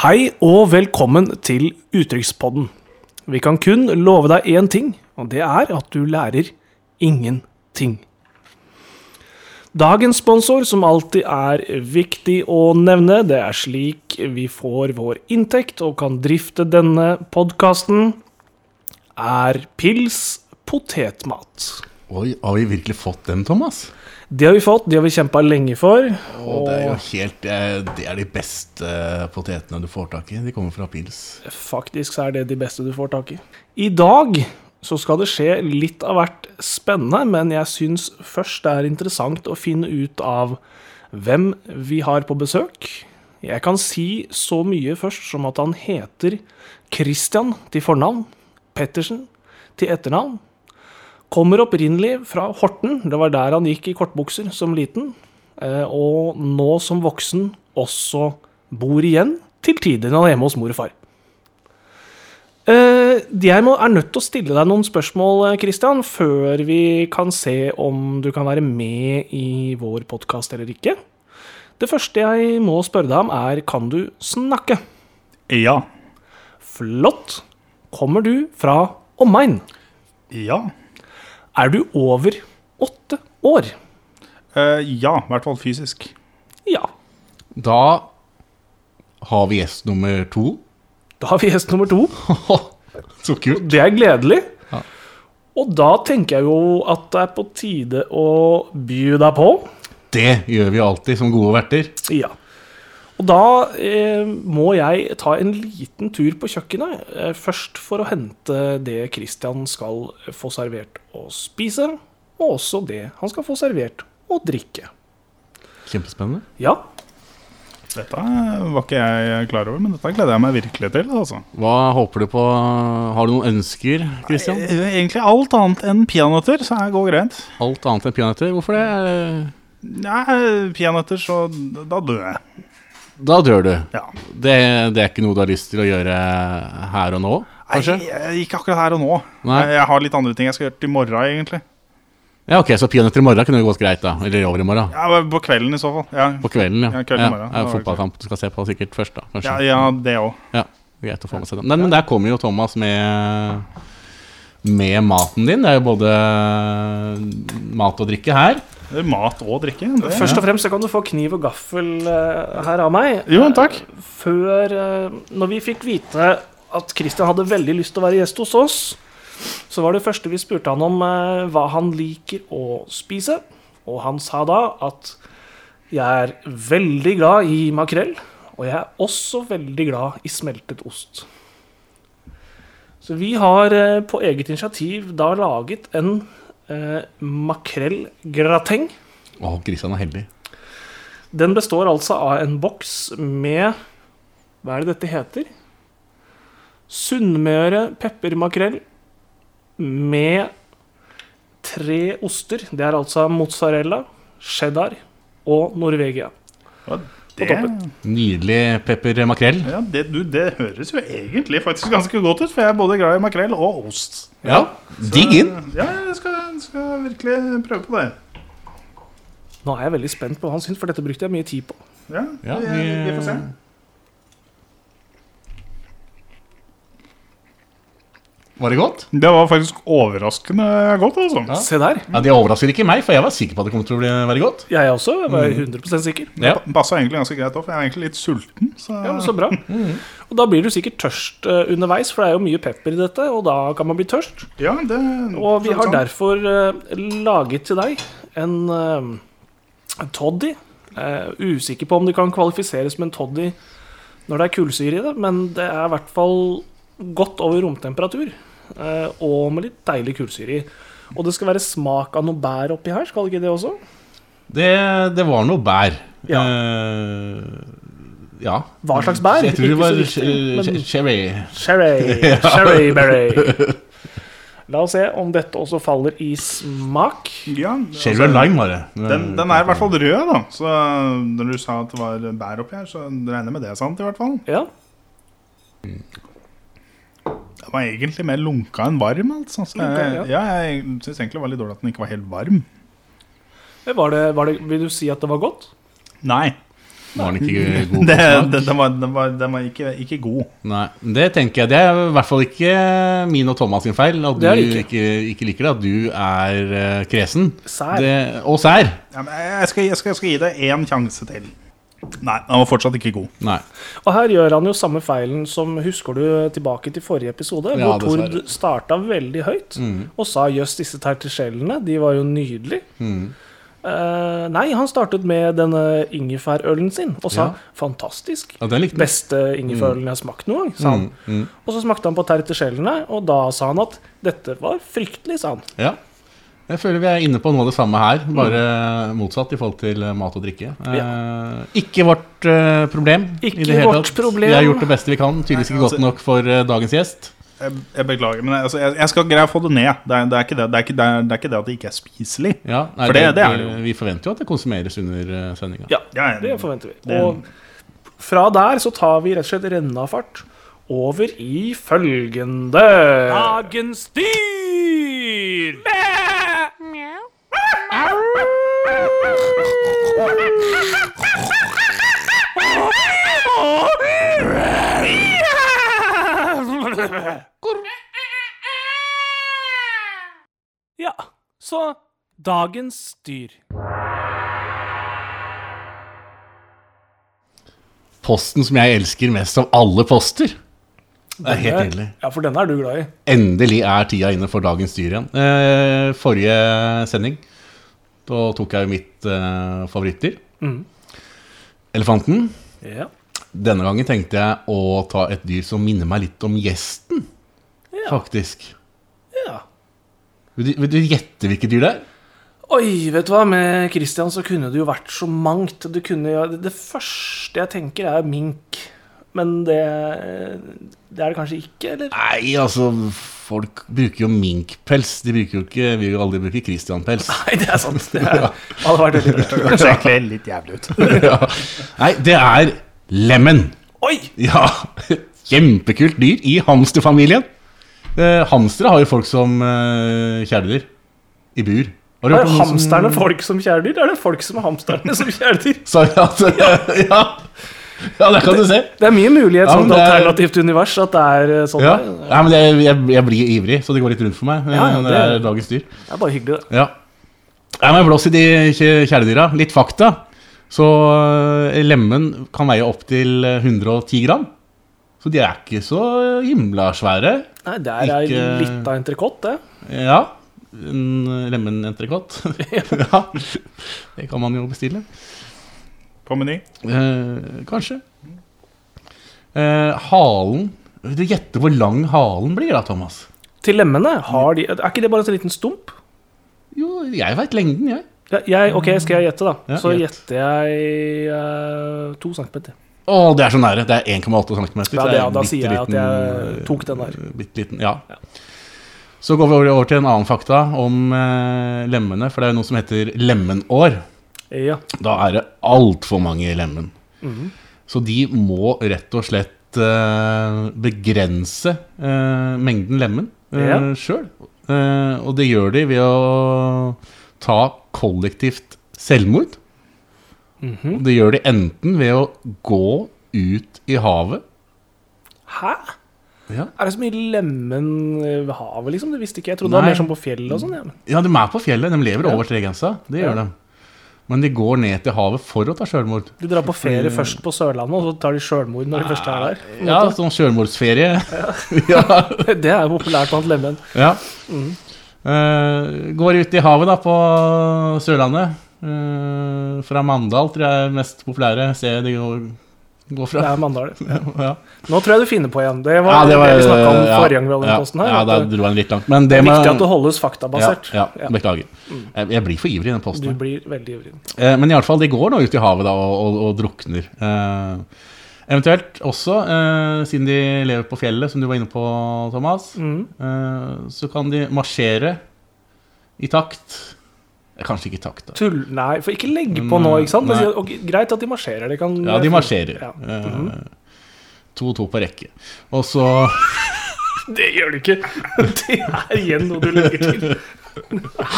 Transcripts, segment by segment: Hei og velkommen til Uttrykkspodden. Vi kan kun love deg én ting, og det er at du lærer ingenting. Dagens sponsor, som alltid er viktig å nevne, det er slik vi får vår inntekt og kan drifte denne podkasten, er Pils potetmat. Oi, har vi virkelig fått dem, Thomas? Det har vi fått, de har vi kjempa lenge for. Og det er jo helt eh, Det er de beste eh, potetene du får tak i. De kommer fra pils. Faktisk så er det de beste du får tak i. I dag så skal det skje litt av hvert spennende, men jeg syns først det er interessant å finne ut av hvem vi har på besøk. Jeg kan si så mye først som at han heter Christian til fornavn, Pettersen til etternavn. Kommer opprinnelig fra Horten, det var der han gikk i kortbukser som liten. eh, Og nå som voksen også bor igjen, til tider når han er hjemme hos mor og far. Eh, jeg må, er nødt til å stille deg noen spørsmål, eh, Christian, før vi kan se om du kan være med i vår podkast eller ikke. Det første jeg må spørre deg om, er kan du snakke? Ja. Flott! Kommer du fra omegn? Ja. Er du over åtte år? Eh, ja, i hvert fall fysisk. Ja. Da har vi gjest nummer to. Da har vi gjest nummer to. Så kult. Det er gledelig. Ja. Og da tenker jeg jo at det er på tide å by deg på. Det gjør vi alltid som gode verter. Ja. Og da eh, må jeg ta en liten tur på kjøkkenet. Eh, først for å hente det Christian skal få servert å spise, og også det han skal få servert å drikke. Kjempespennende. Ja, Dette var ikke jeg klar over, men dette gleder jeg meg virkelig til. altså. Hva håper du på? Har du noen ønsker, Christian? Eh, Egentlig alt annet enn peanøtter, så her går greit. Alt annet enn peanøtter? Hvorfor det? Nei, peanøtter, så da dør jeg. Da dør du. Ja. Det, det er ikke noe du har lyst til å gjøre her og nå, Nei, kanskje? jeg- ikke akkurat her og nå. Nei. Jeg- Jeg har litt andre ting jeg skal gjøre til i morgen, egentlig. Ja, ok, Så peanøtter i morgen kunne gått greit, da? Eller over i morgen? Ja, men På kvelden i så fall. Ja, På kvelden, ja. Ja, kvelden i morgen. Ja, Da var det fotballkamp du skal se på sikkert først, da. Kanskje. ja, ja det òg. Ja, greit å få med seg den. Men, men der kommer jo Thomas med, med maten din. Det er jo både mat og drikke her. Mat og drikke. Det. Først og fremst så kan du få kniv og gaffel eh, her av meg. Jo, men takk. Eh, Før eh, Når vi fikk vite at Christian hadde veldig lyst til å være gjest hos oss, så var det første vi spurte han om eh, hva han liker å spise. Og han sa da at jeg er veldig glad i makrell, og jeg er også veldig glad i smeltet ost. Så vi har eh, på eget initiativ da laget en eh, makrellgrateng. Å, Christian er heldig. Den består altså av en boks med Hva er det dette heter? Sunnmøre peppermakrell med tre oster. Det er altså mozzarella, cheddar og Norvegia. Ja, toppen. det, Nydelig peppermakrell. ja, det, du, det høres jo egentlig faktisk ganske godt ut, for jeg er både glad i makrell og ost. Ja, digg inn. Ja, jeg skal, skal virkelig prøve på det. Nå er jeg veldig spent på hva han syns, for dette brukte jeg mye tid på. Ja, Ja, vi, vi- vi får se. Var det godt? Det var faktisk overraskende godt, altså. Ja. Se der. Ja, Det overrasker ikke meg, for jeg var sikker på at det kom til å bli være godt. Jeg også var 100 sikker. Ja. Det passa egentlig ganske greit òg, for jeg er egentlig litt sulten. Så, Ja, men Så bra. Og da blir du sikkert tørst eh, underveis, for det er jo mye pepper i dette, og da kan man bli tørst. Ja, det, Og vi har sånn. derfor eh, laget til deg en eh, en toddy. Eh, usikker på om det kan kvalifiseres som en toddy når det er kullsyre i det, men det er i hvert fall godt over romtemperatur. eh, og med litt deilig kullsyre i. Og det skal være smak av noe bær oppi her, skal det ikke det også? Det, det var noe bær. Ja. Eh, ja. Hva slags bær? Jeg tror det var Ikke så viktig, men- eh, cherry. Sherry, sherry berry. La oss se om dette også faller i smak. ja, Cherry og altså, lime, var det. Den, den er i hvert fall rød, da. Så når du sa at det var bær oppi her, så regner jeg med det er sant, i hvert fall. Ja, Den var egentlig mer lunka enn varm, altså. Så jeg, Lunka, ja, jeg syns egentlig det var litt dårlig at den ikke var helt varm. var det, var det, Vil du si at det var godt? Nei. Nå er den ikke god. Det, på smak. det, den var, den var, den var ikke, ikke god. Nei, det tenker jeg. Det er i hvert fall ikke min og Thomas sin feil at du Det er det ikke. Ikke, liker det. At du er eh, kresen. Sær. Det, og sær. Ja, men jeg, skal, jeg, skal, jeg skal gi deg én sjanse til. Nei, den var fortsatt ikke god. Nei. Og her gjør han jo samme feilen som husker du tilbake til forrige episode, Ja, hvor Tord dessverre. Mm. starta veldig høyt og sa 'jøss, disse tertiskjellene, de var jo nydelige'. Mm. Eh, nei, han startet med denne ingefærølen sin og sa Ja. Mm. 'fantastisk'. Ja, den likte jeg. Beste ingefærølen jeg har smakt noen gang, sa Mm. han. Og så smakte han på tertiskjellene, og da sa han at 'dette var fryktelig', sa han. Ja. Jeg føler vi er inne på noe av det samme her, bare motsatt i forhold til eh, mat og drikke. Eh, ikke vårt eh, problem. Ikke i det hele vårt tatt. problem. Vi har gjort det beste vi kan. Tydeligvis Nei, ikke godt altså- nok for eh, dagens gjest. Jeg, jeg beklager, men jeg, altså, jeg, jeg skal greie å få det ned. Det er, det, er ikke det, det, er ikke, det, er, det er ikke det at det ikke er spiselig. Ja, nei, For det- det er det jo. Vi forventer jo at det konsumeres under eh, sendinga. Ja, Ja, det forventer vi. det- Og fra der så tar vi rett og slett rennafart over i følgende Dagens dyr! Ja, så dagens dyr. Posten som jeg elsker mest av alle poster. Det er helt nydelig. Ja, for denne er du glad i. Endelig er tida inne for dagens dyr igjen. Eh, forrige sending da tok jeg jo mitt eh, favorittdyr. Elefanten. Ja. Denne gangen tenkte jeg å ta et dyr som minner meg litt om gjesten, ja. faktisk. ja. Vil du, vil du gjette hvilket dyr det er? Oi, vet du hva, med Christian så kunne det jo vært så mangt. Du kunne jo, det, det første jeg tenker, er mink. Men det, det er det kanskje ikke, eller? Nei, altså Folk bruker jo minkpels. De bruker jo ikke, vil jo aldri bruke Christian-pels. Nei, det er sant. Det er, hadde vært veldig rart. Det ser egentlig litt jævlig ut. ja. Nei, det er lemen. Oi! Ja, kjempekult dyr i hamsterfamilien. Eh, hamstere har jo folk som eh, kjæledyr i bur. Har du Er hørt om noen som hamsterne folk som kjæledyr? Er det folk som er hamsterne som kjæledyr? sa at, ja. ja, der kan du se. Det er mye mulig i et Ja, men sånt det er- alternativt univers at det er eh, sånn. Ja. det er. Nei, men jeg, jeg, jeg blir ivrig, så det går litt rundt for meg. Ja, ja, det, det- er dagens dyr. Det er bare hyggelig, det. Ja. Nei, men blås i de kje- kjæledyra. Litt fakta. Så eh, lemmen kan veie eh, opptil 110 gram. Så de er ikke så himla svære. Nei, der er Ikke- litt av entrecôte, det. Ja. En lemenentrekott. ja. Det kan man jo bestille. På Meny. Eh, kanskje. Eh, halen Du gjetter hvor lang halen blir da, Thomas? Til lemmene har de Er ikke det bare en sånn liten stump? Jo, jeg veit lengden, jeg. Ja, jeg, ok, skal jeg gjette, da? Ja, så gjett. gjetter jeg eh, to centimeter. Å, det er så nære. Det er 1,8 cm. Ja, det, ja, da sier jeg at jeg tok den der. eh, Bitte liten, ja. Så går vi over, over til en annen fakta om eh, lemmene. For det er jo noe som heter lemenår. Ja. Da er det altfor mange i lemmen. Mhm. Så de må rett og slett eh, begrense eh, mengden lemmen Ja. uh, sjøl. Eh, og det gjør de ved å ta kollektivt selvmord. Og Det gjør de enten ved å gå ut i havet Hæ? Ja, Er det så mye lemen eh, ved havet, liksom? Det visste ikke jeg. Jeg trodde det var Nei. mer sånn på fjellet og sånn. Ja. men- ja de er på fjellet. De lever over tregrensa. Det gjør Ja. de. Men de går ned til havet for å ta sjølmord. Du drar på ferie først på Sørlandet, og så tar de sjølmord når de først er der. på en Mm. Ja, måte. sånn sjølmordsferie. ja. Det er jo populært blant lemen. Ja. Mm. Eh, går ut i havet da på Sørlandet. Eh, fra Mandal tror jeg er mest populære stedet det går, går Det fra. er Mandal. det. Ja, ja. Nå tror jeg du finner på igjen. Det var, det, vi snakka om forrige gang vi hadde ja, den posten her. Ja, at da det dro jeg den litt langt. Men det er med- viktig at det holdes faktabasert. Ja, ja, Ja. Mm. beklager. Jeg, jeg blir for ivrig i den Du posten. her. blir veldig ivrig. Eh, men i alle fall, de går nå ut i havet da og, og, og drukner. Eh, eventuelt også, eh, siden de lever på fjellet, som du var inne på, Thomas, Mhm. eh, så kan de marsjere i takt. Eh, Kanskje ikke i takt, da. Tull... Nei, for ikke legge på nå, ikke sant? Men, si at- ok, greit at de marsjerer. Det kan Mm, Ja, de marsjerer. Ja. Mhm. Eh, To og to på rekke. Og så Det gjør du ikke! Det er igjen noe du legger til.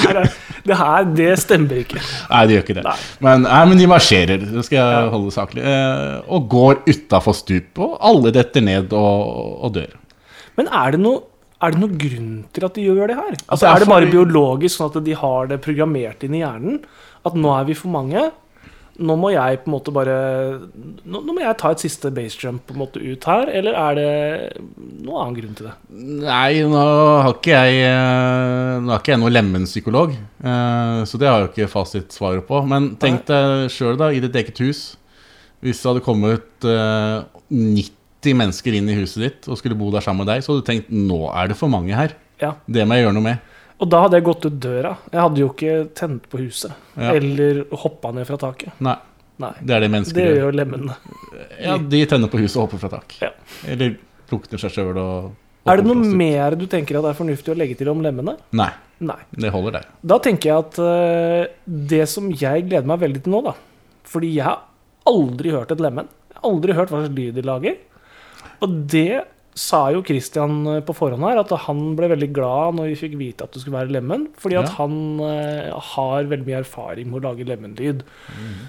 Her er, det her, det stemmer ikke. Nei, de gjør ikke det. Nei. Men, nei, men de marsjerer, det skal jeg holde saklig, eh, og går utafor stupet, og alle detter ned og, og dør. Men er det noe er det noen grunn til at de gjør det her? Altså, det er er, det bare fordi- biologisk sånn at de har det programmert inn i hjernen? At nå er vi for mange. Nå må jeg på en måte bare Nå, nå må jeg ta et siste basejump på en måte ut her, eller er det noen annen grunn til det? Nei, nå har ikke jeg eh, Nå er ikke jeg noen lemenpsykolog, eh, så det har jeg jo ikke fasitsvaret på. Men tenk deg sjøl, da, i ditt eget hus. Hvis det hadde kommet eh, 90 mennesker inn i huset ditt og skulle bo der sammen med deg, så hadde du tenkt nå er det for mange her. Ja. Det må jeg gjøre noe med. Og da hadde jeg gått ut døra. Jeg hadde jo ikke tent på huset. Ja. Eller hoppa ned fra taket. Nei, Nei. det er det Det mennesker gjør gjør. jo lemmene. Ja, De tenner på huset og hopper fra tak. Ja. Eller drukner seg sjøl og, og Er det noe hopper fra stup. mer du tenker at det er fornuftig å legge til om lemmene? Nei, Nei. det holder der. Da tenker jeg at eh, det som jeg gleder meg veldig til nå, da Fordi jeg har aldri hørt et lemen. Jeg har aldri hørt hva slags lyd de lager. Og det sa jo Christian eh, på forhånd her, at han ble veldig glad når vi fikk vite at det skulle være lemen, fordi at Ja. han eh, har veldig mye erfaring med å lage lemenlyd.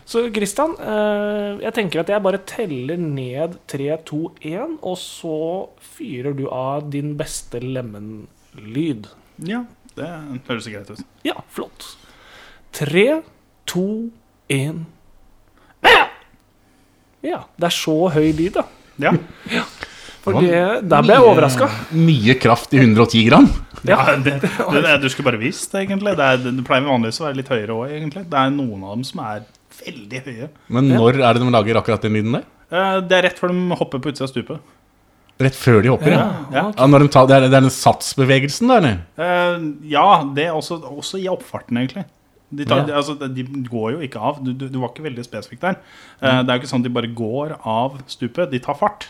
Så Christian, eh, jeg tenker at jeg bare teller ned 3, 2, 1, og så fyrer du av din beste lemenlyd. Ja, det høres greit ut. Ja, flott. Tre, to, én Ja. Det er så høy lyd, da. Ja, For Det var eh, det, der ble jeg mye- overraska. Mye kraft i 110 gram. Ja. ja det, det, det, Du skulle bare visst, egentlig. Det, er, det pleier vanligvis å være litt høyere òg, egentlig. Det er noen av dem som er veldig høye. Men Ja. når er det de lager akkurat den lyden der? Eh, Det er rett før de hopper på utsida av stupet. Rett før de hopper, ja. Ja, ja når de tar, det, er, det er den satsbevegelsen, da, eller? Eh, ja det er også, også i oppfarten, egentlig. De, tar, Ja. de- altså, de går jo ikke av. Du, du, du var ikke veldig spesifikk der. Eh, Det er jo ikke sånn at de bare går av stupet. De tar fart.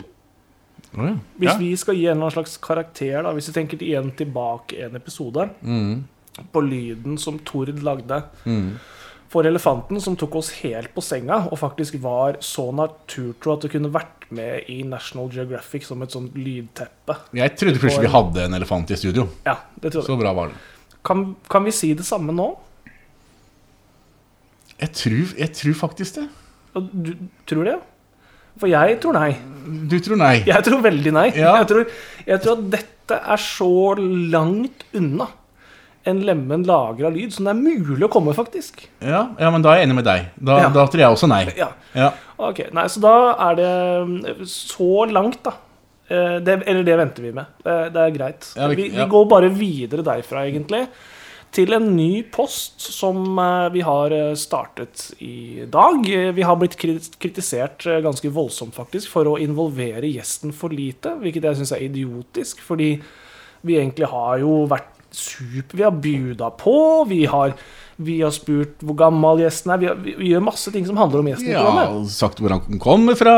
Å, ja. Hvis Ja. vi skal gi en eller annen slags karakter, da, hvis vi tenker igjen tilbake en episode, Mhm. på lyden som Tord lagde Mhm. for elefanten, som tok oss helt på senga, og faktisk var så naturtro at det kunne vært med i National Geographic som et sånt lydteppe. Jeg trodde plutselig vi hadde en elefant i studio. Ja, det tror jeg. Så bra var den. Kan, kan vi si det samme nå? Jeg tror, jeg tror faktisk det. Og Du tror det? For jeg tror nei. Du tror nei. Jeg tror veldig nei. Ja. Jeg, tror, jeg tror at dette er så langt unna en lemen lagra lyd som det er mulig å komme, faktisk. Ja, ja, men da er jeg enig med deg. Da, Ja. da tror jeg også nei. Ja, Ja. ok. Nei, så da er det mm, så langt, da. Eh, Det, eller det venter vi med. Det, det er greit. Ja, vi- vi, ja. vi går bare videre derfra, egentlig. Til en ny post som eh, vi har eh, startet i dag. Eh, Vi har blitt kri- kritisert eh, ganske voldsomt faktisk for å involvere gjesten for lite, hvilket jeg syns er idiotisk. Fordi vi egentlig har jo vært super, vi har buda på, vi har, vi har spurt hvor gammel gjesten er. Vi, har, vi, vi gjør masse ting som handler om gjesten. i ja programmet. og sagt hvor han kommer fra.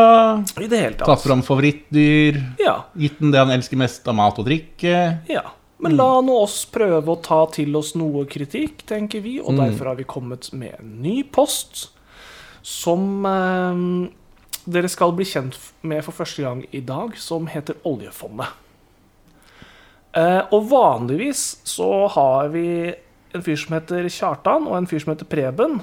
I det hele Tatt tatt. fram favorittdyr. Ja, Gitt den det han elsker mest av mat og drikke. ja. Men la nå oss prøve å ta til oss noe kritikk, tenker vi, og derfor har vi kommet med en ny post som eh, dere skal bli kjent f- med for første gang i dag, som heter Oljefondet. Eh, og vanligvis så har vi en fyr som heter Kjartan, og en fyr som heter Preben,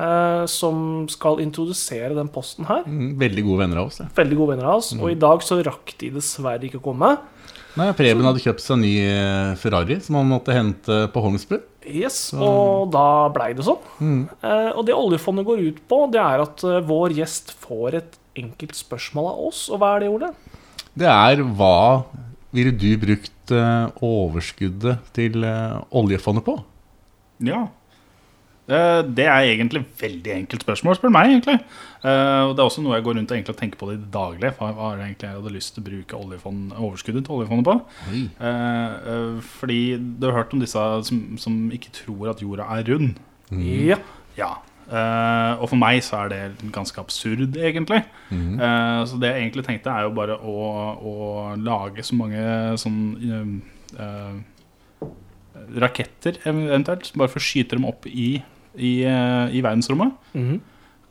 eh, som skal introdusere den posten her. Mm, Veldig gode venner av oss. Ja. Veldig gode venner av oss, og i dag så rakk de dessverre ikke å komme. Nei, Preben hadde kjøpt seg en ny eh, Ferrari som han måtte hente på Holmsbu. Yes, og da blei det sånn. Mm. Eh, og det oljefondet går ut på, det er at eh, vår gjest får et enkelt spørsmål av oss. Og hva er det, Ole? Det er hva ville du brukt eh, overskuddet til eh, oljefondet på? Ja. Eh, Det er egentlig et veldig enkelt spørsmål, spør du meg. egentlig. Eh, Og Det er også noe jeg går rundt og egentlig tenker på det i det daglige. Hva hva er det egentlig jeg hadde lyst til å bruke oljefond, overskuddet til oljefondet på? Eh, eh, Fordi du har hørt om disse som, som ikke tror at jorda er rund. Mm. Ja. Ja. Eh, og for meg så er det ganske absurd, egentlig. Mhm. Eh, så det jeg egentlig tenkte, er jo bare å, å lage så mange sånn eh, eh, Raketter, ev- eventuelt. Bare for å skyte dem opp i, i, eh, i verdensrommet. Mhm.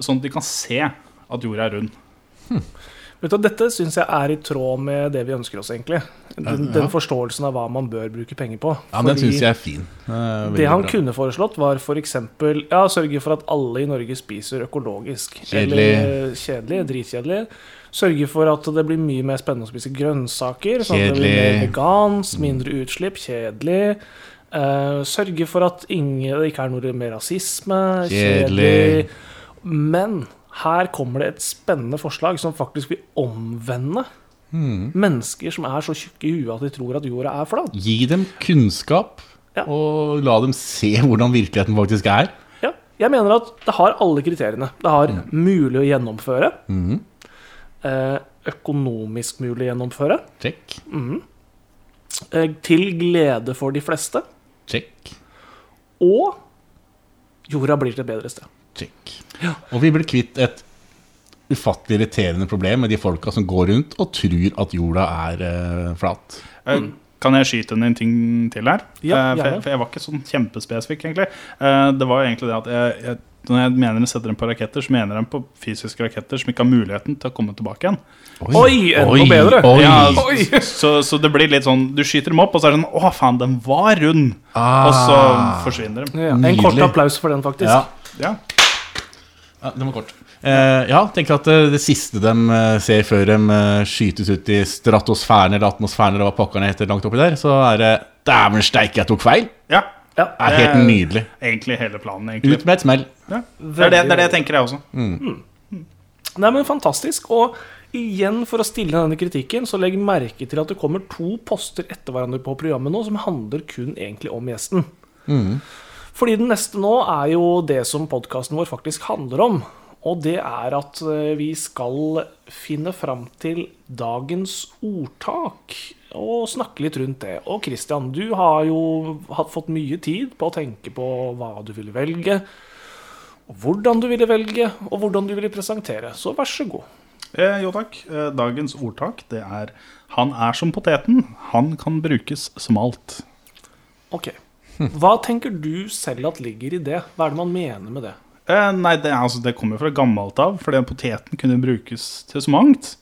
Sånn at de kan se at jorda er rund. Vet du, hva, dette syns jeg er i tråd med det vi ønsker oss, egentlig. Den, den forståelsen av hva man bør bruke penger på. Ja, men Den Fordi syns jeg er fin. Eh, veldig det han bra. kunne foreslått, var f.eks. Ja, sørge for at alle i Norge spiser økologisk. Kjedelig. Eller eh, kjedelig. Dritkjedelig. Sørge for at det blir mye mer spennende å spise grønnsaker. Sånn at det blir mer Kjedelig. Mm. vegansk, mindre utslipp. Kjedelig. Eh, sørge for at ingen, det ikke er noe mer rasisme. Kjedelig. Men her kommer det et spennende forslag som faktisk vil omvende Mm. mennesker som er så tjukke i huet at de tror at jorda er flat. Gi dem kunnskap, Ja. og la dem se hvordan virkeligheten faktisk er. Ja, jeg mener at det har alle kriteriene. Det har mulig å gjennomføre. Mhm. Eh, økonomisk mulig å gjennomføre. Check, Eh, til glede for de fleste. check, Og jorda blir til et bedre sted. check. Og vi blir kvitt et ufattelig irriterende problem med de folka som går rundt og tror at jorda er eh, flat. Eh, Kan jeg skyte inn en ting til her? Mm. Ja, Eh, for, gjerne. jeg, for jeg var ikke sånn kjempespesifikk, egentlig. Eh, Det var jo egentlig det at jeg, jeg, når jeg mener jeg setter dem på raketter, så mener jeg dem på fysiske raketter som ikke har muligheten til å komme tilbake igjen. Oi, enda bedre. Oi. Ja, Oi. så, så det blir litt sånn Du skyter dem opp, og så er det sånn Å, faen, den var rund! Ah. Og så forsvinner de. Ja, en Nydelig. kort applaus for den, faktisk. Ja. Ja. Ja, den var kort. Eh, ja, tenker at eh, det siste de eh, ser før de eh, skytes ut i stratosfæren eller atmosfæren eller hva pokkerne heter langt oppi der, så er det Dæven steike, jeg tok feil! ja. Ja. Det er helt Eh, nydelig. Egentlig hele planen, egentlig. Ut med et smell. Ja. Det, er det, det er det jeg tenker, jeg også. Nei, men fantastisk. Og igjen, for å stille denne kritikken, så legg merke til at det kommer to poster etter hverandre på programmet nå som handler kun egentlig om gjesten. Fordi den neste nå er jo det som podkasten vår faktisk handler om. Og det er at eh, vi skal finne fram til dagens ordtak og snakke litt rundt det. Og Christian, du har jo hatt- fått mye tid på å tenke på hva du ville velge hvordan du ville velge, og hvordan du ville presentere. Så vær så god. Eh, jo takk. Eh, dagens ordtak det er 'Han er som poteten, han kan brukes som alt'. Ok. Hva tenker du selv at ligger i det? Hva er det man mener med det? Eh, nei, det, er- altså, det kommer fra gammelt av, fordi poteten kunne brukes til så mangt.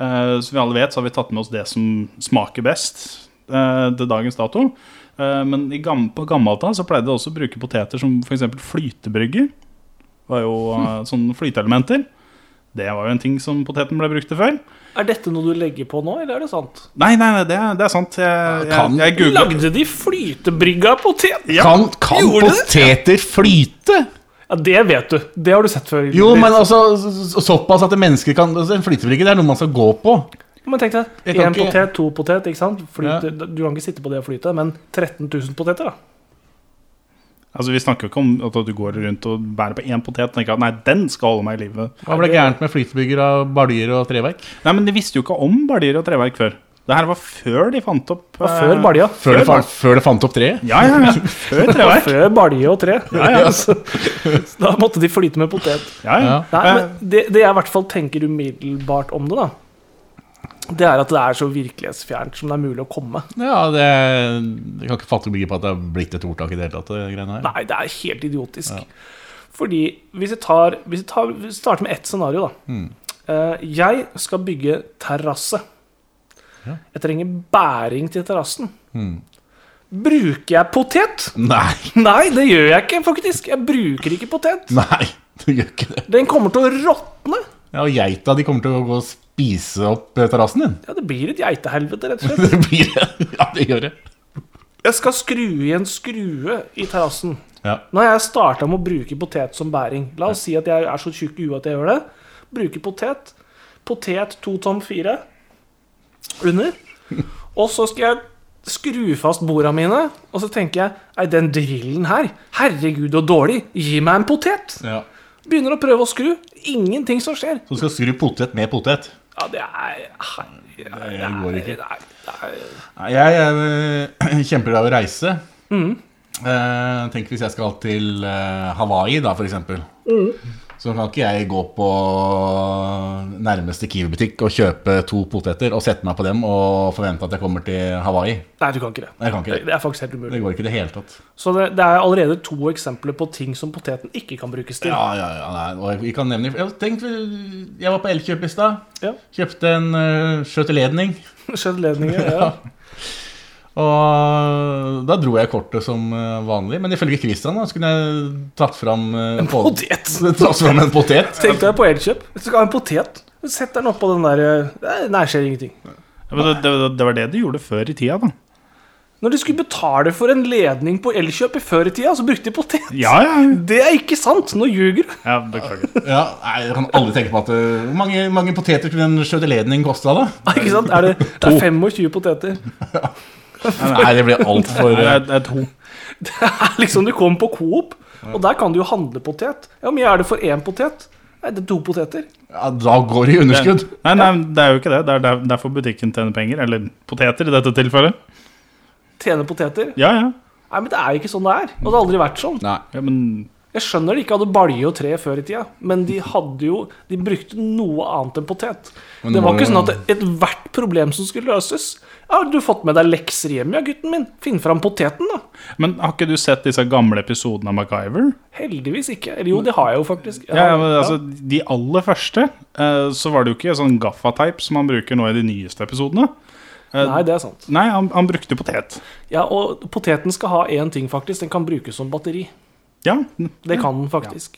Eh, som vi alle vet, så har vi tatt med oss det som smaker best eh, til dagens dato. Eh, men i gam på gammelt av så pleide de også å bruke poteter som f.eks. flytebrygger. Var jo eh, sånne flyteelementer. Det var jo en ting som poteten ble brukt til før. Er dette noe du legger på nå, eller er det sant? Nei, nei, nei det, er- det er sant. Jeg, jeg, Kan- jeg googlet- Lagde de flytebrygga av potet? Ja, Kan, kan gjorde det? poteter flyte? Ja, det vet du. Det har du sett før. Jo, men altså så- så- såpass at mennesker kan altså, En flytebrygge det er noe man skal gå på. Men tenk Jeg deg, kan én ikke- potet, to potet, ikke sant? Flyte, Du kan ikke sitte på det og flyte, men 13 000 poteter, da. Altså, Vi snakker jo ikke om at du går rundt og bærer på én potet og tenker at nei, den skal holde meg i live. Hva ble gærent med flytebygger av baljer og treverk? Nei, men De visste jo ikke om baljer og treverk før. Det her var før de fant opp Det var eh, før balja. Før det, fa- før det fant opp treet? Ja, ja, ja. Før treverk. Før balje og tre. Så da måtte de flyte med potet. Ja, ja. Ja. Nei, Eh, men det, det jeg i hvert fall tenker umiddelbart om det, da, det er at det er så virkelighetsfjernt som det er mulig å komme. Ja, det, jeg kan ikke fatte og begripe at det har blitt et ordtak i det hele tatt. det greiene her. Nei, det er helt idiotisk. Fordi hvis vi, tar, hvis, vi tar, hvis vi starter med ett scenario, da. Eh, jeg skal bygge terrasse. Jeg trenger bæring til terrassen. Bruker jeg potet? Nei, Nei, det gjør jeg ikke, faktisk. Jeg bruker ikke potet. nei, du gjør ikke det. Den kommer til å råtne. Ja, og geita de kommer til å gå og spise opp eh, terrassen din. Ja, det blir et geitehelvete, rett og slett. Det blir det. Ja, det gjør det. Jeg skal skru i en skrue i terrassen. Ja. Nå har jeg starta med å bruke potet som bæring. La oss si at jeg er så tjukk i huet at jeg gjør det. Bruker potet. Potet 2 tom 4 under. Og så skal jeg skru fast borda mine, og så tenker jeg Nei, den drillen her, herregud og dårlig, gi meg en potet! ja. Begynner å prøve å skru. Ingenting som skjer. Så du skal skru potet med potet? Ja, det er Herregud. Det går ikke. Det er, det er, Nei, Jeg er øh, kjempeglad i å reise. Eh, tenk hvis jeg skal til eh, Hawaii, da, for eksempel. Så kan ikke jeg gå på nærmeste Kiwi-butikk og kjøpe to poteter og sette meg på dem og forvente at jeg kommer til Hawaii. Nei, du kan ikke det. Jeg kan ikke det. Det er faktisk helt umulig. Det går ikke i det hele tatt. Så det, det er allerede to eksempler på ting som poteten ikke kan brukes til. Ja, ja, ja, nei, og jeg- vi kan nevne Jeg, tenkte, jeg var på Elkjøp i stad. Ja. Kjøpte en uh, skjøteledning. Skjønnledninger. Ja. Og da dro jeg kortet som eh, vanlig. Men ifølge Christian da, så kunne jeg tatt fram eh, En pot- potet. Tatt fram en potet. Tenk deg på Elkjøp. Du skal ha en potet. Sett den oppå den der eh, Nei, skjer ingenting. Ja, men det, det, det var det du gjorde før i tida, da. Når de skulle betale for en ledning på Elkjøp i før i tida, så brukte de potet. Ja, ja. Det er ikke sant! Nå ljuger du. ja beklager. Ja, nei, jeg kan aldri tenke på at eh, Hvor mange, mange poteter kunne en skjøteledning kosta, da? Ikke sant? Er det, det er 25 poteter. Nei, det ble altfor Det uh, er, det er to. Det er liksom Du kommer på Coop, og der kan du jo handle potet. Ja, Hvor mye er det for én potet? Nei, det er to poteter. ja, Da går det i underskudd. Nei, nei, det er jo ikke det. Det er der- derfor butikken tjener penger. Eller poteter, i dette tilfellet. Tjene poteter. Ja, ja. Nei, men det er jo ikke sånn det er. Og det har aldri vært sånn. Nei. ja men Jeg skjønner de ikke hadde balje og tre før i tida, men de hadde jo De brukte noe annet enn potet. Men det nå var må ikke jo- sånn at ethvert problem som skulle løses Ja, har du fått med deg lekser hjem, ja, gutten min? Finn fram poteten, da. Men har ikke du sett disse gamle episodene av MacGyver? Heldigvis ikke. Eller jo, det har jeg jo faktisk. Jeg Ja, har- ja, men altså, De aller første, eh, så var det jo ikke sånn gaffateip som han bruker nå i de nyeste episodene. Eh, Nei, det er sant. Nei, han, han brukte potet. Ja, Og poteten skal ha én ting, faktisk. Den kan brukes som batteri. Ja, Det kan den faktisk.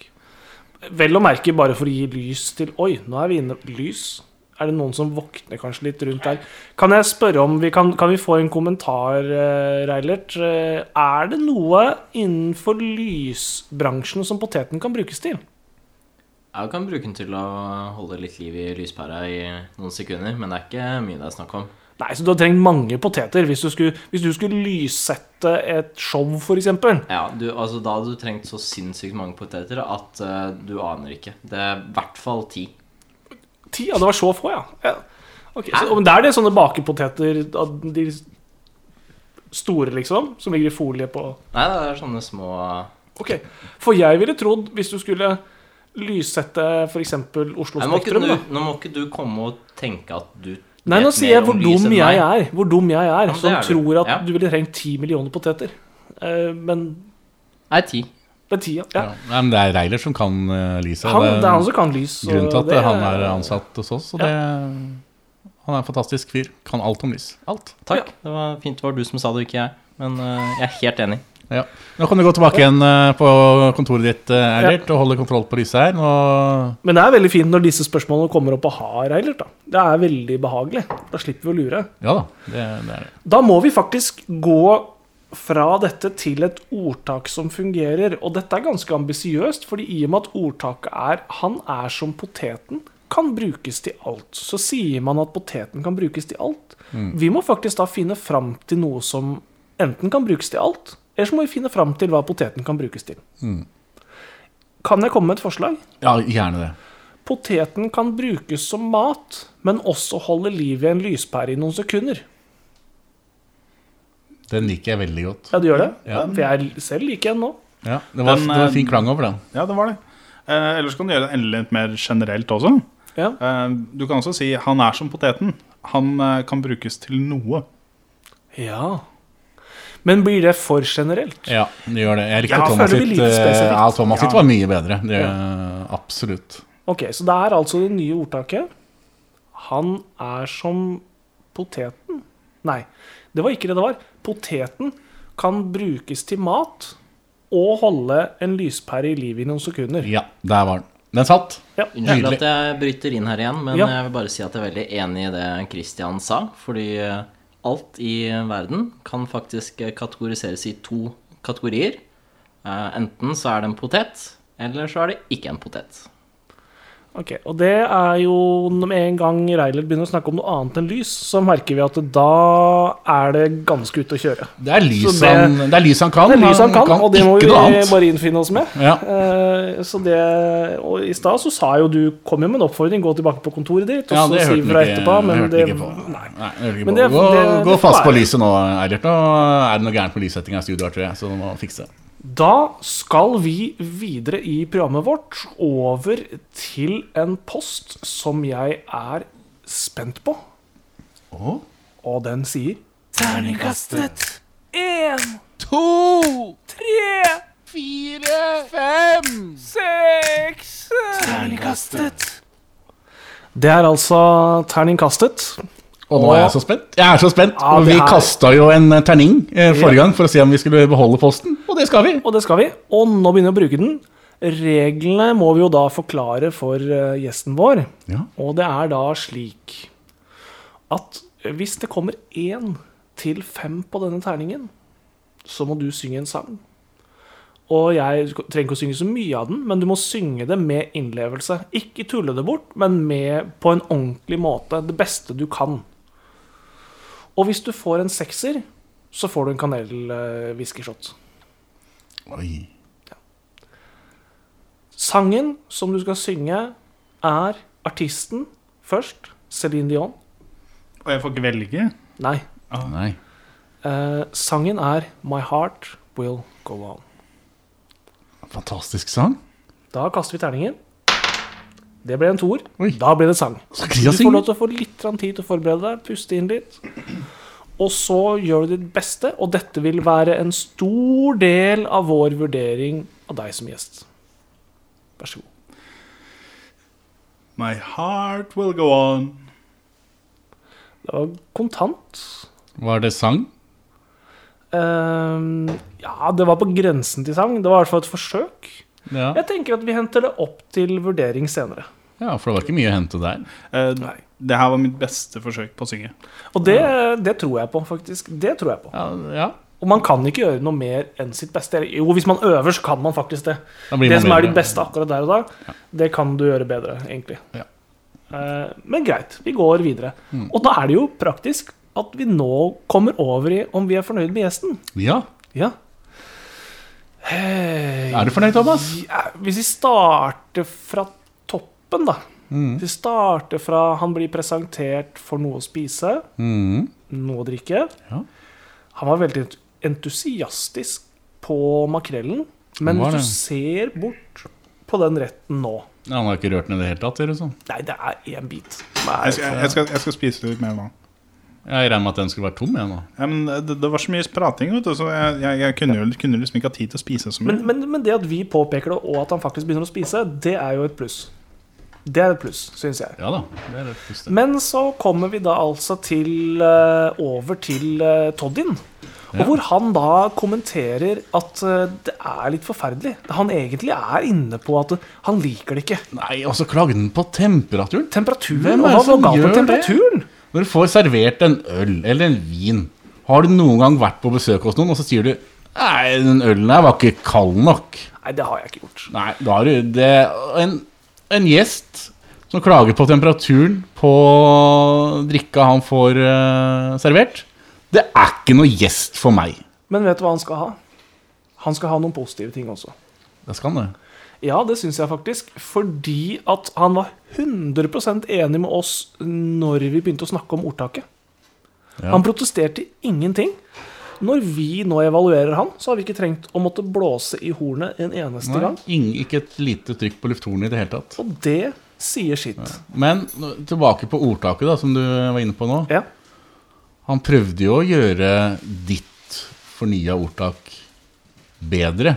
Vel å merke bare for å gi lys til Oi, nå er vi inne Lys? Er det noen som våkner kanskje litt rundt der? Kan jeg spørre om vi kan, kan vi få en kommentar, eh, Reilert? Eh, er det noe innenfor lysbransjen som poteten kan brukes til? Jeg kan bruke den til å holde litt liv i lyspæra i noen sekunder, men det er ikke mye det er snakk om. Nei, så du har trengt mange poteter hvis du skulle, hvis du skulle lyssette et show, f.eks. Ja, du, altså Da hadde du trengt så sinnssykt mange poteter at eh, du aner ikke. Det er i hvert fall ti. Ti? Ja, det var så få, ja. ja. Ok, så, men det er det sånne bakepoteter, at de store, liksom, som ligger i folie på Nei, det er sånne små Ok, For jeg ville trodd, hvis du skulle lyssette f.eks. Oslo Nei, må ikke Spektrum du, da. Nå må ikke du komme og tenke at du Nei, nå vet sier jeg mer hvor om lys dum enn jeg meg. er. Hvor dum jeg er men det Som er du. tror at Ja. du ville trengt ti millioner poteter. Eh, men Nei, ti. det er tida. Ja. Ja. Nei, men det er Reilert som kan uh, lyset. Han, Det er det er han som kan lys. og grunnen til at det han er ansatt hos oss. Og Ja. det, han er en fantastisk fyr. Kan alt om lys. Alt. Takk. Det var fint det var du som sa det, ikke jeg. Men eh, jeg er helt enig. Ja. Nå kan du gå tilbake igjen eh, på kontoret ditt, eh, Eilert, og holde kontroll på lyset her. Nå, Men det er veldig fint når disse spørsmålene kommer opp og har Eilert. da. Det er veldig behagelig. Da slipper vi å lure. ja da, det, det er det. Da må vi faktisk gå fra dette til et ordtak som fungerer. Og dette er ganske ambisiøst, fordi i og med at ordtaket er 'han er som poteten', kan brukes til alt. Så sier man at poteten kan brukes til alt. Vi må faktisk da finne fram til noe som enten kan brukes til alt, eller så må vi finne fram til hva poteten kan brukes til. Kan jeg komme med et forslag? Ja, gjerne det. Poteten kan brukes som mat, men også holde liv i en lyspære i noen sekunder. Den liker jeg veldig godt. Ja, du gjør det? Ja. For jeg er selv like en nå. Ja, det var, Den, det var eh, fin klang over den. ja det var det. Eh, ellers kan du gjøre det enda litt mer generelt også. Ja. Eh, du kan også si 'han er som poteten'. Han eh, kan brukes til noe. Men blir det for generelt? Ja, det gjør det. Jeg likte Ja, Thomas føler det sitt. blir litt eh, Ja, spesifikt. Thomas sitt Ja. var mye bedre. Det, Absolutt. Ok, så det er altså det nye ordtaket. Han er som poteten Nei, det var ikke det det var. Poteten kan brukes til mat og holde en lyspære i livet i noen sekunder. Ja, der var den. Den satt. Ja. Unnskyld Nydelig. at jeg bryter inn her igjen, men Ja. jeg vil bare si at jeg er veldig enig i det Christian sa. Fordi eh, alt i verden kan faktisk eh, kategoriseres i to kategorier. Eh, Enten så er det en potet, eller så er det ikke en potet. Ok, Og det er jo med en gang Reilert begynner å snakke om noe annet enn lys, så merker vi at da er det ganske ute å kjøre. Det er lys Så det- han, det er lys han kan. Det er lys han kan, og det må vi ikke noe annet. bare innfinne oss med. Ja. Eh, så det, og I stad så sa jo du kom jo med en oppfordring, gå tilbake på kontoret ditt. Og Ja, så det si hørte fra han ikke, etterpå, men hørte det, han ikke på. nei. Nei, det hørte ikke Men på. det- gå det- det gå får fast på være. lyset nå, Eilert. Nå er det noe gærent på lyssettinga i studioet, tror jeg, så du må fikse. Da skal vi videre i programmet vårt over til en post som jeg er spent på, Å, og den sier Terningkastet én, to, tre, fire, fem seks Terningkastet. Det er altså terningkastet. Og nå er jeg så spent. Jeg er så spent. Ja, og det vi er- kasta jo en eh, terning eh, forrige Ja. gang for å se om vi skulle beholde posten, og det skal vi. Og det skal vi. Og nå begynner vi å bruke den. Reglene må vi jo da forklare for eh, gjesten vår. Ja. Og det er da slik at hvis det kommer én til fem på denne terningen, så må du synge en sang. Og jeg trenger ikke å synge så mye av den, men du må synge det med innlevelse. Ikke tulle det bort, men med på en ordentlig måte. Det beste du kan. Og hvis du får en sekser, så får du en kanelwhiskyshot. Oi. Sangen som du skal synge, er artisten først. Céline Dion. Og jeg får ikke velge. Nei. Nei. eh, sangen er My Heart Will Go On. Fantastisk sang. Da kaster vi terningen. Det ble en toer. Oi. Da ble det sang. Så Du Kristian får lov synger. til å få litt grann tid til å forberede deg, puste inn litt. Og så gjør du ditt beste, og dette vil være en stor del av vår vurdering av deg som gjest. Vær så god. My heart will go on. Det var kontant. Var det sang? Ehm, ja, det var på grensen til sang. Det var i hvert fall et forsøk. Ja. Jeg tenker at vi henter det opp til vurdering senere. ja, for det var ikke mye å hente der. Eh, Nei. det her var mitt beste forsøk på å synge. Og det, det tror jeg på, faktisk. Det tror jeg på. Ja, ja. Og man kan ikke gjøre noe mer enn sitt beste. Eller, Jo, hvis man øver, så kan man faktisk det. Da blir Det man som er bedre. ditt beste akkurat der og da, det kan du gjøre bedre, egentlig. Ja. Mm. Eh, Men greit, vi går videre. Og da er det jo praktisk at vi nå kommer over i om vi er fornøyd med gjesten. Ja. Ja. Hei. Er du fornøyd, Thomas? Ja, hvis vi starter fra toppen, da. Mm. Hvis vi starter fra han blir presentert for noe å spise, Mm. noe å drikke. Ja. Han var veldig entusiastisk på makrellen. Men Han var hvis du det. ser bort på den retten nå Ja, Han har ikke rørt den i det hele tatt? Ser det ut som. Nei, det er én bit. Jeg skal, jeg skal, jeg skal spise litt mer nå. Jeg regner med at den skulle vært tom. Jeg, nå. Ja, men det, det var så mye prating, vet du, så jeg, jeg, jeg kunne, jo, kunne liksom ikke ha tid til å spise så mye. Men, men, men det at vi påpeker det, og at han faktisk begynner å spise, det er jo et pluss. Det er et pluss, syns jeg. Ja da. Det er det første. Men så kommer vi da altså til, eh, over til eh, Toddin. Og Ja. hvor han da kommenterer at eh, det er litt forferdelig. Han egentlig er inne på at han liker det ikke. Nei, og så klagde den på temperaturen. Temperaturen, Hvem og er hva det var som galt med gjør det? temperaturen? Når du får servert en øl eller en vin, har du noen gang vært på besøk hos noen, og så sier du Nei, den ølen her var ikke kald nok. Nei, det har jeg ikke gjort. Nei, da har du det En, en gjest som klager på temperaturen på drikka han får eh, servert, det er ikke noe gjest for meg. Men vet du hva han skal ha? Han skal ha noen positive ting også. Det skal han, det. Ja, det syns jeg faktisk. Fordi at han var 100 enig med oss når vi begynte å snakke om ordtaket. Ja. Han protesterte ingenting. Når vi nå evaluerer han, så har vi ikke trengt å måtte blåse i hornet en eneste Nei, gang. ing- ikke et lite trykk på lufthornet i det hele tatt. Og det sier sitt. Men nå- tilbake på ordtaket da, som du var inne på nå. Ja. Han prøvde jo å gjøre ditt fornya ordtak bedre.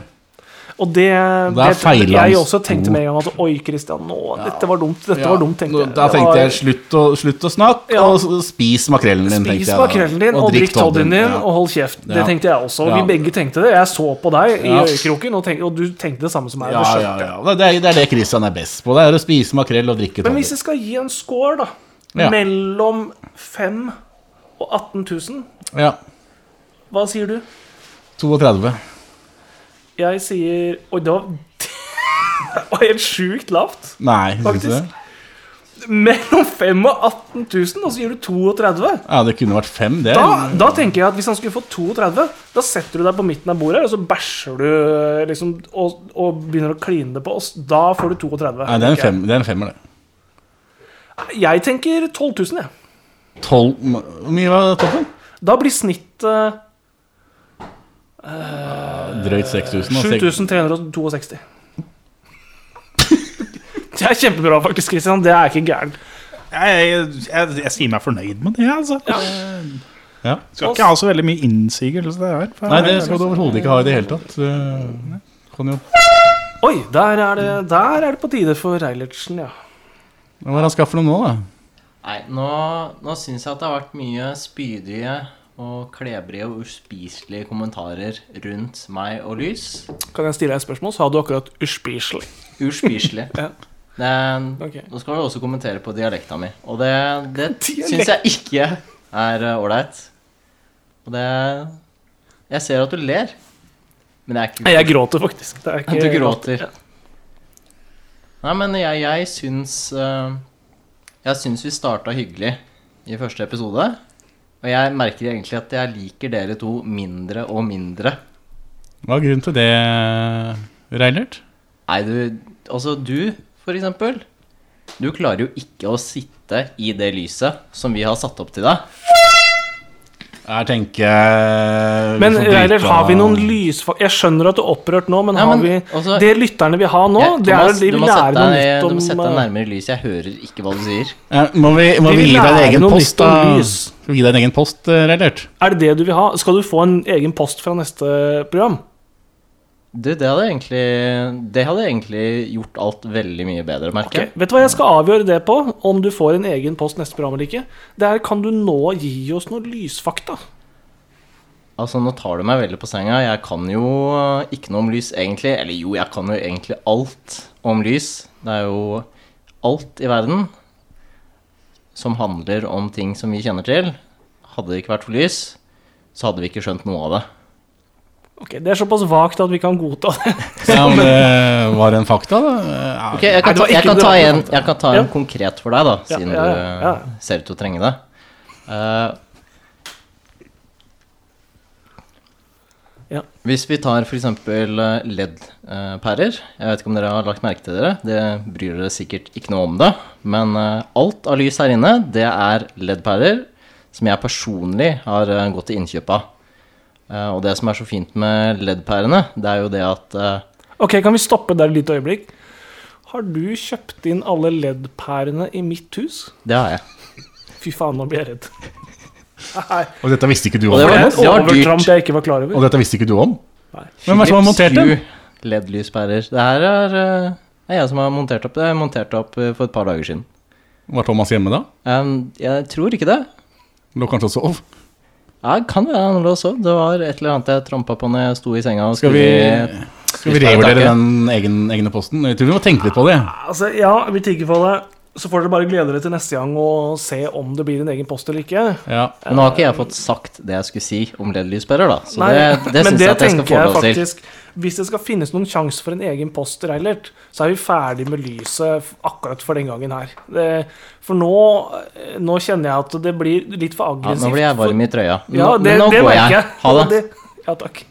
Og det, Der feiler han Jeg også tenkte stort. med en gang at oi, Christian, nå, dette var dumt. Dette Ja, var dumt, tenkte nå- jeg. Da Det tenkte var- jeg slutt å, slutt å snakke, Ja. og s- spis makrellen din. tenkte Spis jeg da. makrellen din og drikk todden din ja. og hold kjeft. Det Ja. tenkte jeg også. Vi Ja. begge tenkte det. Jeg så på deg i Ja. øyekroken, og, tenk- og du tenkte det samme som meg. Ja, Det skjønte ja, jeg. ja. Det, er, det er det Christian er best på. Det er å spise makrell og drikke Men todden. hvis jeg skal gi en score, da, Ja. mellom 5 og 18 000, Ja. hva sier du? 32. Jeg sier Oi, det var det var helt sjukt lavt. Nei, synes Faktisk. du det? Mellom 5 og 18 000, og så gir du 32 Ja, det kunne vært fem, det. da, da tenker jeg at hvis han skulle få 32, da setter du deg på midten av bordet, og så bæsjer du liksom, og, og begynner å kline det på oss. Da får du 32. Nei, det er en, fem, det er en femmer, det. Jeg tenker 12 000, jeg. 12 Hvor mye var toppen? eh, Da blir snittet Drøyt 6000. da. 7362. Det er kjempebra, faktisk, Christian. Det er ikke gærent. Jeg, jeg, jeg, jeg sier meg fornøyd med det, altså. Ja. Skal ikke ha så veldig mye innsigelse der. for- Nei, det skal du overhodet ikke ha i det hele tatt. Du Kan jo Oi, der er det, der er det på tide for Reilertsen, ja. Hva har han skaffet for noe nå, da? Nei, nå, nå syns jeg at det har vært mye spydige og klebrige og uspiselige kommentarer rundt meg og Lys. Kan jeg stille deg et spørsmål? Sa du akkurat 'uspiselig'? Uspiselig. Ja. Det, Ok. Nå skal du også kommentere på dialekta mi, og det, det Dialekt. syns jeg ikke er eh, ålreit. Og det Jeg ser at du ler, men det er ikke Nei, jeg gråter faktisk. Det er ikke Du gråter. Nei, men jeg, jeg syns eh, Jeg syns vi starta hyggelig i første episode. Og jeg merker egentlig at jeg liker dere to mindre og mindre. Hva er grunnen til det, Reinert? Nei, du Altså, du, for eksempel. Du klarer jo ikke å sitte i det lyset som vi har satt opp til deg. Jeg tenker Men Reilert, har vi noen lysfag... Jeg skjønner at du er opprørt nå, men, Ja, men, har vi altså- Det lytterne vil ha nå, Jeg- det er Thomas, at de du vil må lære sette noe deg- nytt Du må sette deg om eh, nærmere lyset. Jeg hører ikke hva du sier. Ja, Må vi, Vi må vi vil gi deg en lære egen noe post, nytt om da? lys. Skal vi gi deg en egen post, eh, Reilert? Er det det du vil ha? Skal du få en egen post fra neste program? Du, det hadde egentlig Det hadde egentlig gjort alt veldig mye bedre, merker jeg. Ok, Vet du hva jeg skal avgjøre det på? Om du får en egen post neste program eller ikke? Det er kan du nå gi oss noen lysfakta? Altså, nå tar du meg veldig på senga. Jeg kan jo eh, ikke noe om lys, egentlig. Eller jo, jeg kan jo egentlig alt om lys. Det er jo alt i verden som handler om ting som vi kjenner til. Hadde det ikke vært for lys, så hadde vi ikke skjønt noe av det. Ok, Det er såpass vagt at vi kan godta det. Ja, om det eh, var en fakta, da? Ja. Ok, Jeg Nei, kan det ta, var ikke jeg kan det ta, var en, jeg kan ta en Ja. konkret for deg, da, Ja, siden ja, ja, ja. du eh, ser ut til å trenge det. Eh, Ja. Eh, Hvis vi tar f.eks. LED-pærer Jeg vet ikke om dere har lagt merke til dere. Det bryr dere sikkert ikke noe om det. Men eh, alt av lys her inne, det er LED-pærer som jeg personlig har eh, gått til innkjøp av. Eh, Og det som er så fint med LED-pærene, det er jo det at eh, Ok, Kan vi stoppe der et lite øyeblikk? Har du kjøpt inn alle LED-pærene i mitt hus? Det har jeg. Fy faen, nå blir jeg redd. Nei, Og dette visste ikke du om? Og det det var- er en Thomas? det var dyrt. overtramp jeg ikke var klar over. Og dette visste ikke du om? Nei. Hvem er det som har Philips montert dem? Hue LED-lyspærer. Det her er eh, det er jeg som har montert opp. Det er montert opp eh, for et par dager siden. Var Thomas hjemme da? Em, jeg tror ikke det. Lå kanskje og sov? Ja, det kan være han lå og sov. Det var et eller annet jeg trampa på når jeg sto i senga. Og Skal vi, skulle- skal vi revurdere den egen, egne posten? Jeg tror vi må tenke litt på det. Altså, ja, vi tigger for det. Så får dere bare glede dere til neste gang og se om det blir en egen post eller ikke. Ja. Men Nå har ikke jeg fått sagt det jeg skulle si om LED-lyspærer, da. Så Nei, det, det men syns det jeg at jeg skal tenker få jeg lov til. faktisk Hvis det skal finnes noen sjanse for en egen post, Reilert, så er vi ferdig med lyset f- akkurat for den gangen her. Det, for nå, eh, nå kjenner jeg at det blir litt for Ja, aggressivt. nå blir jeg varm i trøya. Nå, Ja, det, men nå det går merker jeg. jeg. Ha Og det. Ja, takk.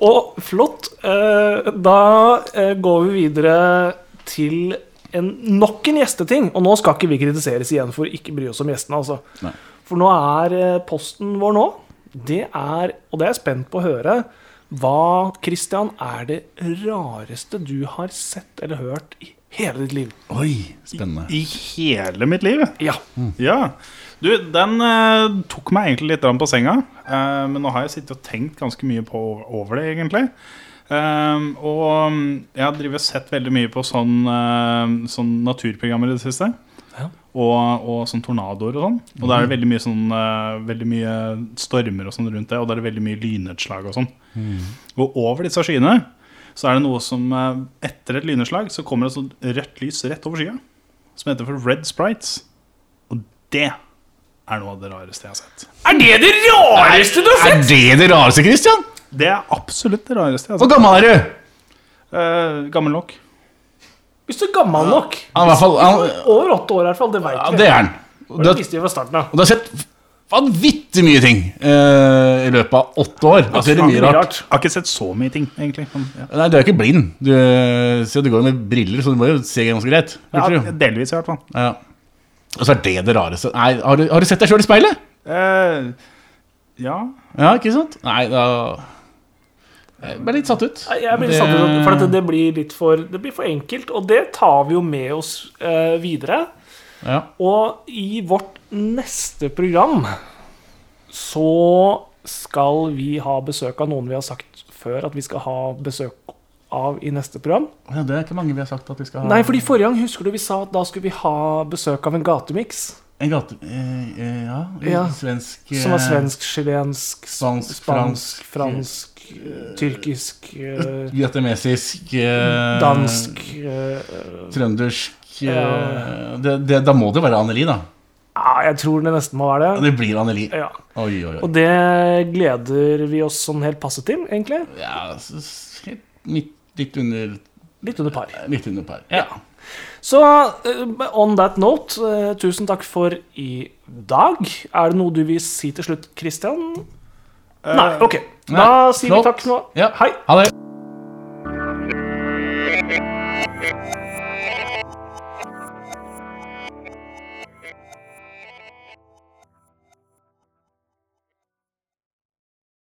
Og flott. eh, Da eh, går vi videre til en, nok en gjesteting. Og nå skal ikke vi kritiseres igjen for ikke bry oss om gjestene, altså. Nei. For nå er eh, posten vår nå, det er, og det er jeg spent på å høre, hva, Christian, er det rareste du har sett eller hørt i hele ditt liv? Oi, spennende. I hele mitt liv. Ja. Ja. Du, den eh, tok meg egentlig litt grann på senga. eh, men nå har jeg sittet og tenkt ganske mye på over det, egentlig. Eh, og mm, jeg har drevet og sett veldig mye på sånn, eh, sånn naturprogrammer i det siste. Ja. Og, og sånn tornadoer og sånn. Og da er det veldig mye, sånn, eh, veldig mye stormer og sånn rundt det. Og da er det veldig mye lynnedslag og sånn. Og over disse skyene så er det noe som eh, Etter et lynnedslag så kommer det et sånt rødt lys rett over skya. Som heter for Red Sprites. Og det er noe av det rareste jeg har sett. Er det det rareste du har Er det det rareste, Christian? Det er absolutt det rareste jeg har Hvor sett. gammel er du? Eh, gammel nok. Hvis du er gammel nok. Han, i hvert fall, han, Over åtte år, i hvert fall. Det veit ja, vi. det er han. Og Og Du det har, visste vi fra starten av. og du har sett vanvittig mye ting eh, i løpet av åtte år. Altså, det er mye rart. Jeg har ikke sett så mye ting, egentlig. Men, ja. Nei, du er ikke blind. Du, eh, så du går jo med briller, så du må jo se ganske greit. Ja, burde du? delvis, i hvert fall. Ja. Og så er det det rareste. Nei, har du, har du sett deg sjøl i speilet? Eh, ja Ja, ikke sant? Nei, da Jeg ble litt satt ut. Nei, Jeg blir satt ut, av- for at det- det blir litt for, det blir for enkelt. Og det tar vi jo med oss eh, videre. Ja. Og i vårt neste program så skal vi ha besøk av noen vi har sagt før at vi skal ha besøk av i neste program. Ja, det er ikke mange vi har sagt at vi skal ha Nei, fordi forrige gang husker du vi sa at da skulle vi ha besøk av en gatemiks. En gate... eh, eh, ja, en Ja. Svensk Som er eh, svensk, chilensk, Spansk, spansk, fransk, fransk, eh, tyrkisk, eh, Vietnamesisk eh, dansk eh, Trøndersk eh, Ja. det, det, Da må det være Anneli, da. Ja, jeg tror det nesten må være Ja, det. Det blir Anneli. Ja. Oi, oi, oi. Og det gleder vi oss sånn helt passe til, egentlig. Ja, så, s- helt midt, litt under Litt under par. Litt under par. Ja. Så eh, on that note, eh, tusen takk for i dag. Er det noe du vil si til slutt, Christian? Nei, OK. Da sier Eh, flott. vi takk nå. Ja. Hei. Ha det. Thank